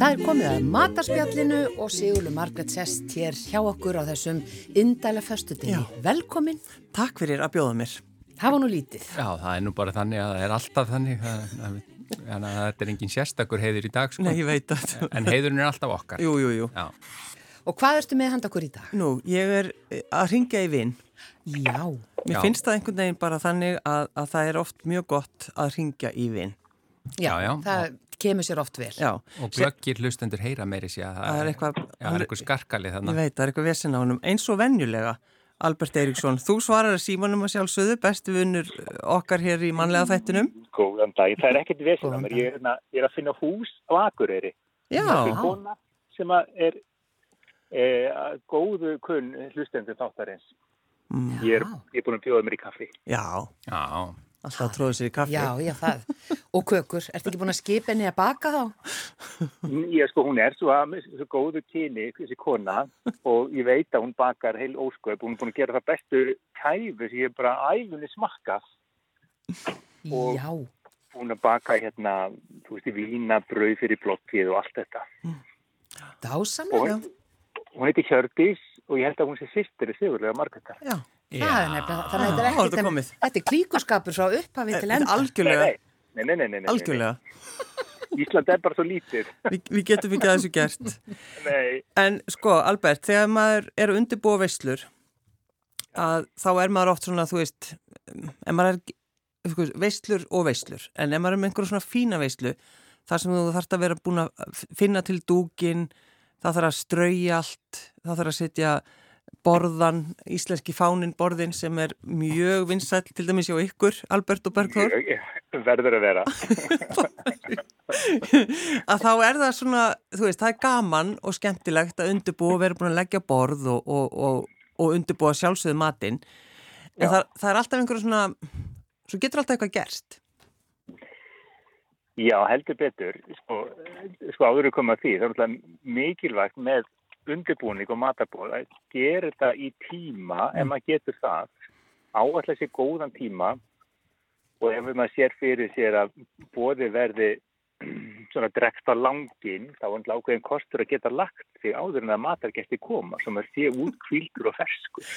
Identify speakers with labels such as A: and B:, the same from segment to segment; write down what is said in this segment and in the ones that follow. A: Það er komið að matarspjallinu og Sigurlu Margrét sest hér hjá okkur á þessum indæla föstudegi.
B: Já.
A: Velkomin,
B: Takk fyrir að bjóða mér.
A: það var nú lítið.
C: Já, það er nú bara þannig að það er alltaf þannig að, að, að, að þetta er engin sérstakur heiður í dag sko.
B: Nei, ég veit að...
C: en heiðurinn er alltaf okkar
B: Jú, jú, jú.
C: Já,
A: Og hvað ertu með handa okkur í dag?
B: Nú, ég er eh, að ringja í vinn.
A: Já,
B: Mér
C: Já.
B: finnst það einhvern veginn bara þannig að, að það er oft mjög gott að ringja í vinn.
A: já,
C: Já, já.
A: það kemur sér oft vel.
B: Já.
C: og glöggir hlustendur heyra meiri sér að
B: Það er eitthvað...
C: Já, það er eitthvað skarkalið
B: Ég
C: þannig
B: veit, það er eitthvað vesen á hennum. Eins og venjulega, Albert Eiríksson. Þú svarar að símanum að sjálfsögðu, bestu vinnur okkar hér í mannlega þættinum.
D: Góðan dag, það er ekkert vesinn
B: Góðan
D: að mér,
B: dag.
D: ég er, hérna- ég er að finna hús á Akureyri.
B: Já,
A: Já.
D: Kona sem að er e, góðu kunn hlustendum þáttarins.
B: Mm.
D: Ég er, ég er búin að bjóða mér í kaffi.
B: já.
C: Já,
B: Alltaf að tróða sér í kaffi.
A: já, já, það. Og kökur, ertu ekki búin að skipa henni að baka þá?
D: Ég sko, hún er svo, að- svo góðu kyni, þessi kona, og ég veit að hún bakar heil ósköp. Hún er búin að gera það bestu kæfu sem ég bara æfunni smakka. Og-
A: Já,
D: Hún er að baka hérna, þú veist, í vína, brauð fyrir blokkið og allt þetta.
A: dásamlega.
D: Og- Hún heitir Hjördís og ég held að hún sé sýstir í Sigurlega Margreðar.
B: Já.
A: Það er nefnilega, þannig að þetta
B: Já,
A: er ekkert,
B: þetta er
A: en-
B: komið.
A: þetta er klíkuskapur frá upphafi til enda.
B: Algjörlega,
D: Nei, nei, nei, nei, nei, nei.
B: algjörlega.
D: Ísland er bara svo lítið.
B: Vi, við getum ekki að þessu gert.
D: Nei,
B: En sko, Albert, þegar maður er að undirbúa veislur að þá er maður oft svona, þú veist en maður er sko, veislur og veislur, en ef maður er með einhverjum svona fína veislu, þar sem þú þarft að vera búin að finna til dúkin það þarf að strauja allt það þarf að setja borðan íslenski fánin borðin sem er mjög vinsæll til dæmis hjá ykkur Albert og Bergþór
D: ég- verður að vera.
B: að þá er það svona, þú veist, það er gaman og skemmtilegt að undirbúa og vera búin að leggja borð og, og, og, og undirbúa sjálfsögðu matinn. En það, það er alltaf einhverju svona, svo getur alltaf eitthvað gerst.
D: Já, heldur betur. Sko, sko áður að koma að því, það er náttúrulega mikilvægt með undirbúning og matabóð að gera þetta í tíma, ef maður getur það, áallega sér góðan tíma og ef maður sér fyrir sér að bóði verði svona drekst á langin, þá er náttúrulega ákveðin kostur að geta lagt sig áður en að matargesti koma, sem er því útkvíldur og ferskur.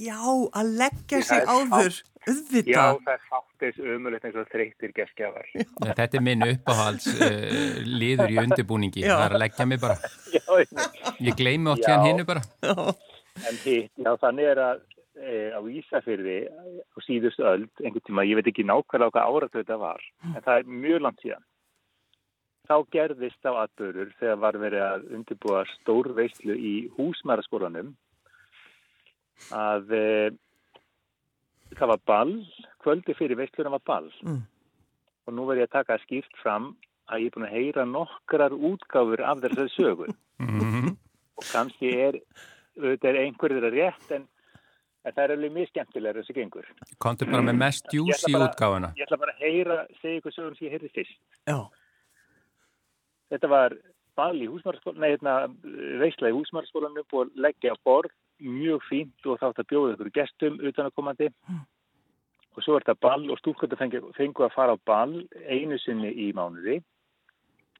B: Já, að leggja
D: Já,
B: sig
D: það er
B: áður,
D: Já,
B: auðvitað.
D: það er sáttist ömulegt eins og þreytir geskjafar.
C: Nei, þetta er minn uppáhalds uh, liður í undirbúningi,
B: Já.
C: það er að leggja mig bara
D: Já, einmitt.
C: ég gleymi oft
D: Já.
C: hérna hinnu bara
B: Já,
D: en hitt, já, þannig er að e, á Ísafyrði á síðust öld, einhvern tíma, ég veit ekki nákvæmlega hvað árat þetta var, en það er mjög langt síðan. Þá gerðist á atbörur þegar var verið að undirbúa stór veislu í húsmæraskólanum að e, það var ball, kvöldi fyrir veislunum var ball.
B: Mm.
D: Og nú verð ég að taka skýrt fram að ég er búin að heyra nokkrar útgáfur af þessari sögu
C: Mhm.
D: og kannski er, auðvitað er einhverjir að rétt en, en það er alveg mjög skemmtilega þessu gengur.
C: Komdu bara með mest
D: Ég
C: jús í
D: ætla bara-
C: útgáfuna
D: Ég ætla bara að heyra, segja ykkur sögum sem ég heyrði fyrst.
B: já,
D: Þetta var ball í húsmarskólanum, nei, hérna, veisla í húsmarskólanum búið að leggja á borð, mjög fínt og þátt að bjóða ykkur gestum utanakomandi. Og svo er þetta ball og stúlkvöldu fengu, fengu að fara á ball einu sinni í mánuði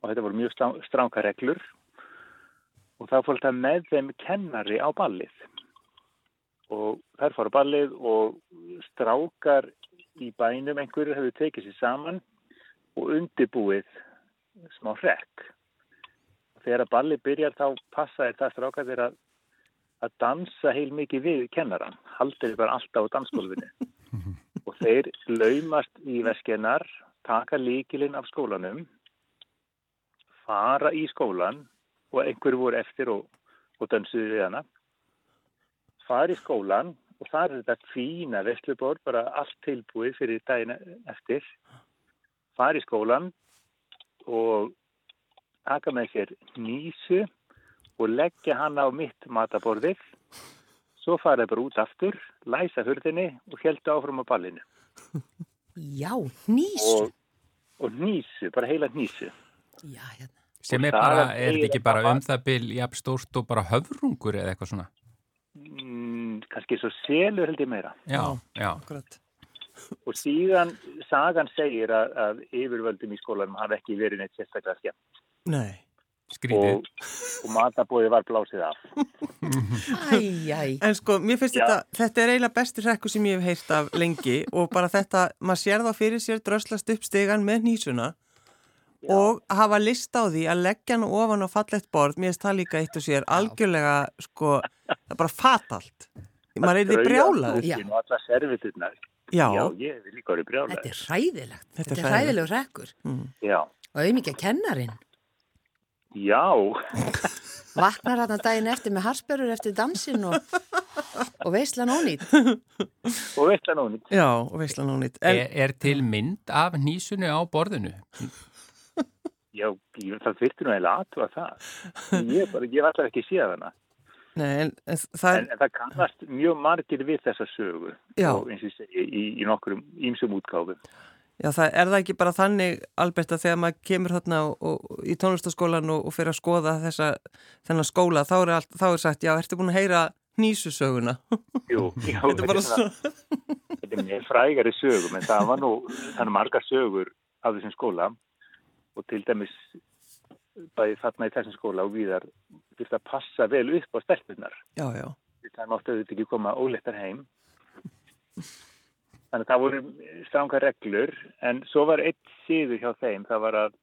D: og þetta voru mjög strá- stránga reglur og þá fór þetta með þeim kennari á ballið og þær fór á ballið og strákar í bænum einhverjur hefur tekið sér saman og undibúið smá hrekk. Þegar að ballið byrjar þá passaði það strákar þeirra að dansa heil mikið við kennaran. Haldið þeir bara alltaf á dansgólfinu. og þeir laumast í veskenar, taka líkilinn af skólanum, fara í skólan og einhverju voru eftir og, og dansuði við hana. Fara í skólan og það er þetta fína vesluborð, bara allt tilbúið fyrir daginn eftir. Fara í skólan og taka með sér nýsu og leggja hana á mitt mataborðið. Svo fara þeir bara út aftur, læsa hurðinni og heldu áfram á ballinu.
A: Já, nýsu.
D: og, og nýsu, bara heila nýsu.
A: Já, hérna.
C: Sem
D: Og
C: er bara,
D: það
C: er þetta ekki
D: er-
C: bara um það bil jafn stórt og bara höfrungur eða eitthvað svona?
D: Mm, kannski svo selur held ég meira.
C: Já, já,
B: akkurat.
D: Og síðan sagan segir að, að yfirvöldum í skólanum hafi ekki verið neitt sérstaklega skemmt.
B: Nei.
C: skrítið.
D: Og, og matabóði var blásið af.
A: Æj, æj.
B: En sko, mér finnst
D: Já.
B: þetta, þetta er eiginlega besti rekku sem ég hef heyrt af lengi og bara þetta, maður sér þá fyrir sér dröslast upp stegan með nýsuna og hafa list á því að leggja hann ofan á fallegt borð, mér finnst það líka eitt og sér algjörlega, sko, það er bara fatalt. Maður er því brjálaður.
A: Já.
D: Já. Og alla serviturnar.
B: Já,
D: Já, ég hef líka
A: Þetta
D: orðið brjálaður.
A: er hræðilegt.
B: Þetta
A: Þetta
B: er
A: er hræðilegur rekkur.
D: Já.
A: Og auðvitað kennarin.
D: Já.
A: Vaknar hann daginn eftir með harsperur eftir dansin og, og veislan ónýtt.
D: Og veist það núni.
B: já, og veistlan hún nýtt.
C: Er, er til mynd af nýsunu á borðinu?
D: Já, ég, það þurfti nú eiginlega aðtúa það. Ég, bara, ég var alltaf ekki séð hana.
B: Nei, en, en það
D: En,
B: er,
D: en það kannast mjög margir við þessa sögu.
B: Já.
D: Og eins og ég segi, í, í nokkrum ímsum útgáfum.
B: já, það er það ekki bara þannig, Albert, að þegar maður kemur þarna og, og, í tónlistaskólan og, og fyrir að skoða þessa, þennan skóla, þá er, allt, þá er sagt, já, ertu búin að heyra nýsusöguna?
D: Jú, já, þetta
B: Þetta er bara
D: svona-
B: svo...
D: þetta er mjög frægari sögum en það var nú, þannig margar sögur af þessum skóla og til dæmis bæði þarna í þessum skóla og viðar þurfti að passa vel upp á stelpunar
B: Já, já.
D: það máttu auðvitað ekki koma óleittar heim þannig að það voru stranga reglur en svo var eitt síður hjá þeim það var að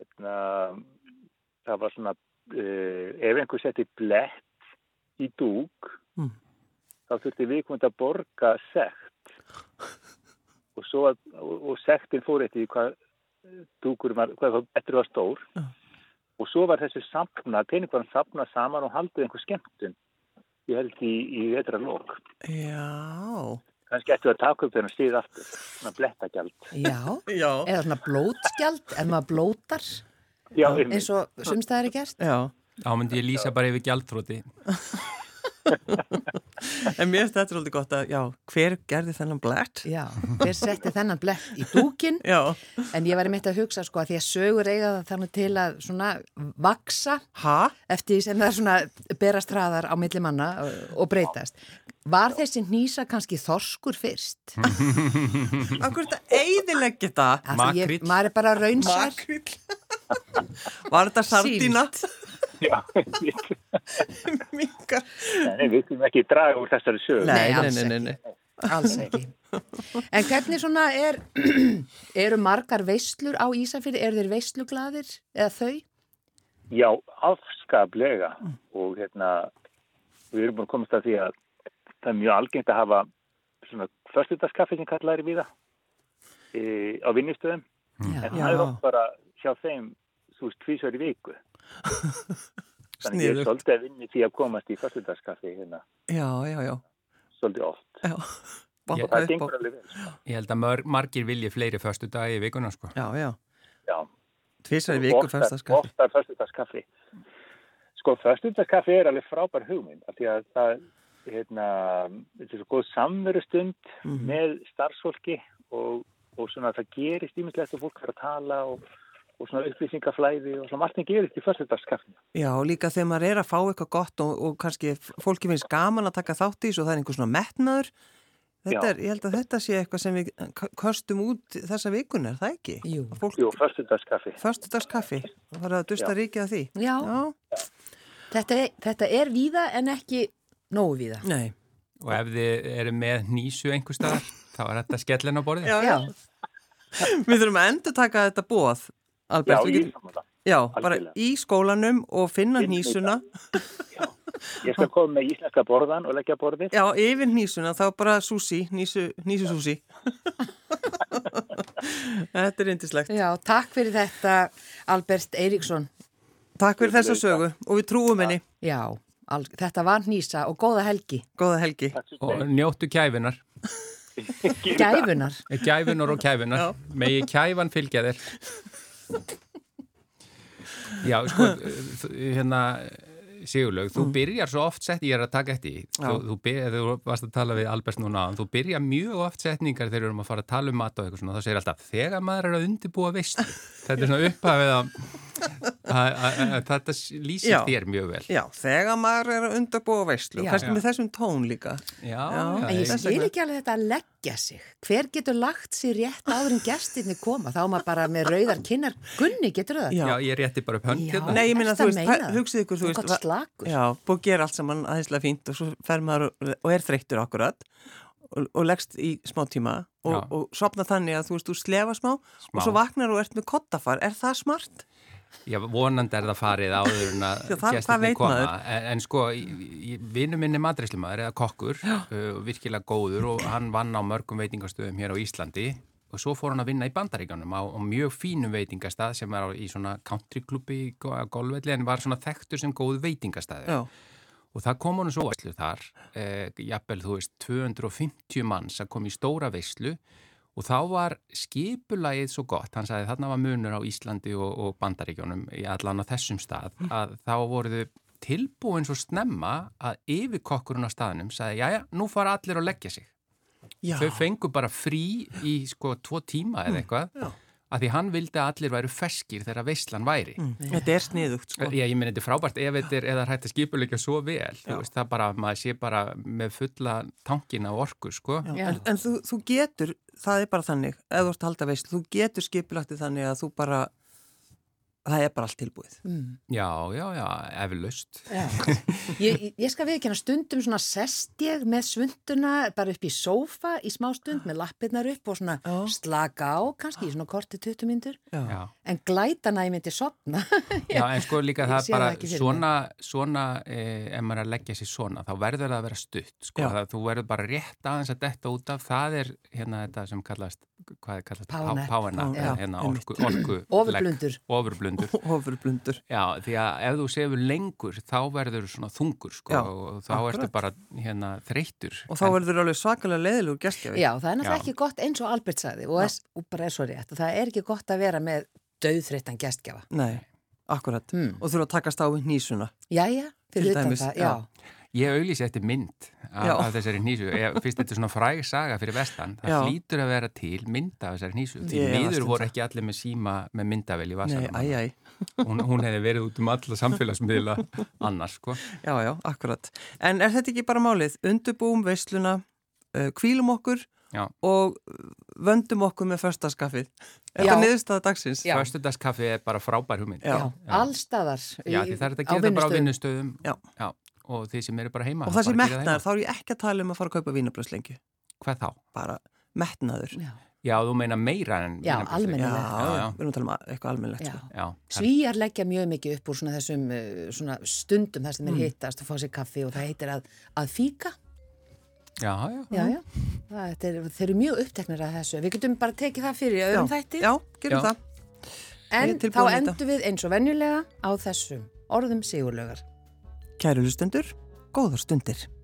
D: hérna, það var svona uh, ef einhver setti blett í dúk
B: Mm.
D: þá þurfti viðkomandi að borga sekt og svo að, og, og sektin fór eftir því hvað dúkur var, hvað það betur var stór
B: Já.
D: og svo var þessu samna, peningvarn samna saman og haldið einhver skemmtun ég held í, í vetra lók
B: Já.
D: kannski ættu að taka upp þennan stíð aftur svona blettagjald
A: Já,
B: Já.
A: eða svona blótskjald ef maður blótar
D: já,
A: eins
D: einmitt.
A: og sumstæðar er gert.
B: Já.
C: Þá myndi ég lýsa bara yfir gjaldtróti.
B: En mér finnst þetta svolítið gott að, já, hver gerði þennan blært?
A: Já, hver setti þennan blett í dúkin
B: Já.
A: en ég var einmitt að hugsa sko að því að sögur eiga það þannig til að svona vaksa
B: Ha?
A: eftir því sem það er svona berast hraðar á milli manna og- og breytast. Var þessi nýsa kannski þorskur fyrst?
B: Akkur þetta eiðileggi þetta?
A: Af því ég-
C: Makríll.
A: Maður er bara raunsar.
B: Makrill. Var þetta sardína?
D: já, einmitt.
B: Mingar.
D: Nei, við þurfum ekki að draga úr þessari sög
A: Nei,
B: Nei, nei,
A: alls
B: nei, nei, nei.
A: Alls ekki. En hvernig svona er, eru margar veislur á Ísafyrði, eru þeir veisluglaðir eða þau?
D: já, afskaplega og hérna við erum búin að komast að því að það er mjög algengt að hafa svona förstutaskaffi sem kallaðir við það e, á vinnustöðum en
A: Já,
B: Já.
D: það er oft bara hjá þeim þú veist, tvísar í viku þannig ég er
B: Sniðugt.
D: svolítið að vinni því að komast í förstutaskaffi hérna,
B: Já, já, já.
D: svolítið oft
B: Já. Boppa
D: og það
B: upp
D: gengur
B: og...
D: alveg vel sko.
C: Ég held að mar margir vilji fleiri förstu dagi í vikuna, sko.
B: Já, já.
D: já,
B: Tvísar í viku sko. fyrst að skaffi.
D: oftar förstutaskaffi sko, förstutaskaffi er alveg frábær hugmynd af því að það hérna, þetta er svo góð samverustund með starfsfólki og, og svona það gerist ímislegt og fólk fyrir að tala og, og svona upplýsingaflæði og svona margt sem gerist í förstutaskaffinu
B: Já, líka þegar maður er að fá eitthvað gott og, og kannski f- fólki finnst gaman að taka þátt í þessu og það er einhver svona metnaður. Þetta
D: Já.
B: er, ég held að þetta sé eitthvað sem við k- köstum út þessa vikuna, er það ekki?
A: Jú.
B: Að Fólk,
D: Jú, förstutaskaffi
B: Föstudagskaffi, það var að dusta
D: Já.
B: ríkið að því.
A: Já. Þetta, er- þetta er víða en ekki nógu víða.
B: Nei.
C: Og ef þið eru með nýsu einhver staðar, þá er þetta skellin á borðið.
B: Já, já. Við þurfum að endur taka þetta bóð,
D: Já,
B: Albert. Við
D: ég,
B: getum- já bara
D: algjörlega.
B: í skólanum og finna
D: Finna
B: hnísuna.
D: ég skal koma með íslenska borðan og leggja borðið.
B: Já, yfir hnísuna, þá bara súsi, hnísu, hnísu súsi. þetta er yndislegt.
A: Já, takk fyrir þetta Albert Eiríksson.
B: Takk fyrir þessa sögu og við trúum henni.
A: Já, al, þetta var nýsa og góða helgi.
B: Góða helgi.
C: Og njóttu kæfunar.
A: Gæfunar.
C: Kæfunar og kæfunar. Megi kæfan fylgja þér. Já, sko, eh, hérna, Sigurlaug, þú byrjar svo oft sett, ég er að taka eftir því. þú,
B: Já.
C: þú, byrjar, þú varst að tala við Albert núna áðan, þú byrjar mjög oft setningar þegar við erum að fara að tala um mat og eitthvað svona, þá segir alltaf, þegar maður er að undibúa veist, þetta er svona upphafið að, að, að, að þetta lýsir
B: Já.
C: þér mjög vel.
B: Já, þegar maður er að undabúa veislu,
A: Já.
B: kannski
C: Já.
B: með þessum tón líka.
C: Já,
B: Já.
A: En ég
C: ég-
B: þess
A: skil
B: vegna.
A: ekki alveg þetta að leggja sig. Hver getur lagt sig rétt áður en gestinni koma? Þá er maður bara með rauðar kinnar. Gunni, getur það?
B: Já.
C: já, ég rétti bara upp hönd
A: Já.
C: hérna.
B: Nei, ég minna,
A: ertu að
B: þú veist,
A: meina
B: það-
A: það?
B: hugsið ykkur,
A: Þú
B: þú veist,
A: ert
B: va-
A: slakur.
B: Já, búið að gera allt saman aðeinslega fínt og svo fer maður og, og er þreyttur akkurat og, og leggst í smá tíma og,
C: Já.
B: og sopna þannig að þú veist, þú slefa smá, og svo vaknar og ert með kottafar, er það smart?
C: Já, vonandi er það farið áður en að
B: Já, það- það
C: gestirnir
B: veit
C: koma.
B: maður.
C: En, en sko, vinnu minn er matreislimaður eða kokkur, uh, virkilega góður og hann vann á mörgum veitingastöðum hér á Íslandi og svo fór hann að vinna í bandaríkanum á, á mjög fínum veitingastað sem er á, í svona countryklubbi í go- á golfvelli en var svona þekktur sem góð veitingastaður.
B: Já,
C: Og það kom honum svo veislu þar, eh, jafnvel þú veist 250 manns að kom í stóra veislu og þá var skipulagið svo gott, hann sagði þarna var munur á Íslandi og, og Bandaríkjónum í allan á þessum stað,
B: Mm.
C: að þá voruðu tilbúin svo snemma að yfirkokkurinn á staðnum sagði, já já, nú fara allir að leggja sig.
B: já, Mm.
C: Þau fengu bara frí í sko tvo tíma eða eitthvað,
B: já.
C: að því hann vildi að allir væru ferskir þegar veislan væri.
B: Mm. þetta er sniðugt, sko.
C: Já, ég minn, þetta er frábært ef þetta er eða hægt að skipuleika svo vel, þú veist, það bara, maður sé bara með fulla tankin á orku, sko.
B: Já.
A: Já.
B: En, en þú, þú getur, það er bara þannig, ef þú ert að halda veislu, þú getur skipulaktið þannig að þú bara, það er bara allt tilbúið.
A: Mm.
C: Já, já, já, eflaust.
A: Já. Ég, ég skal viðkjanna stundum svona sest ég með svunduna bara upp í sófa í smá stund með lappirnar upp og svona
B: Já.
A: slaka á, kannski í svona korti 20 myndur.
C: Já.
A: En glætana ég myndi sopna.
C: já, en sko líka
A: Ég
C: það
A: sé
C: bara
A: það ekki fyrir
C: svona, svona e, ef maður er að leggja sér svona, þá verður það að vera stutt, sko,
B: Já.
C: það, þú verður bara rétt aðeins að detta út af, það er hérna þetta sem kallast, hvað er kallast?
A: Power nap.
C: Pávenap,
A: Já,
C: hérna
B: einmitt.
C: orku, orku.
A: Ofurblundur.
C: Ofurblundur.
B: Ofurblundur.
C: Já, því að ef þú sefur lengur þá verður þú svona þungur sko,
B: Já,
C: og þá ertu
B: akkurat.
C: bara hérna þreyttur.
B: Og þá verður alveg svakalega leiðilegur gestgjafi.
A: Já, það er náttúrulega
C: Já.
A: ekki gott eins og Albert sagði og,
B: Já.
A: þess, og bara er svo rétt. Það er ekki gott að vera með döðþreyttan gestgjafa.
B: Nei, akkurat.
A: Hmm.
B: Og þurfa að takast á við nýsuna.
A: Jæja,
B: Til
A: fyrir utan
B: dæmis,
A: það,
B: já.
A: já.
C: Ég auglýsi eftir mynd
B: Já.
C: af, af þessari hnísu. Ég, fyrst þetta er svona fræg saga fyrir vestan. Það
B: Já.
C: hlýtur að vera til mynd af þessari hnísu. Því
B: Ég efast
C: miður
B: um
C: voru
B: það.
C: ekki allir með síma með myndavel í
B: Nei,
C: vasanum.
B: æj, æj.
C: Hún, hún hefði verið út um alla samfélagsmiðla annars sko.
B: Já, já, akkurat. En er þetta ekki bara málið? Undubúum veisluna, uh, kvílum okkur
C: Já.
B: og vöndum okkur með förstaskafið. Er
A: Já.
B: þetta niðurstaða dagsins?
A: Já.
C: Föstudagskaffi er bara frábær hugmynd.
A: Já,
B: Já.
A: allstaðar
C: Já, því það er þetta að gera það bara á vinnustöðum.
B: Já.
C: Og þeir sem eru bara heima.
B: Og það sem
C: bara gera
B: metnaður,
C: heima.
B: þá er ég ekki að tala um að fara að kaupa vínabröðslengju.
C: Hvað þá?
B: Bara metnaður.
A: Já,
C: Já, þú meina meira en
A: Já,
C: vínarbrauðsleik.
A: almennilegt.
B: Já,
C: Já, já.
B: við erum að tala um að- eitthvað almennilegt.
A: já.
B: Sko.
C: Já, það-
A: Svíjar leggja mjög mikið upp úr svona þessum eh, svona stundum þar sem
B: Mm.
A: þeir hittast og fá sér kaffi og það heitir að, að fíka.
C: já, já.
A: Já, já. Það, er, þeir eru mjög uppteknir að þessu. Við getum bara tekið það fyrir í öðrum þætti.
B: Já, gerum
C: Já.
B: það. ég
A: en
B: er
A: þá
B: tilbúin í þetta.
A: endum við eins og venjulega á þessum orðum sigurlögar.
B: Kæru lustendur, góðar stundir.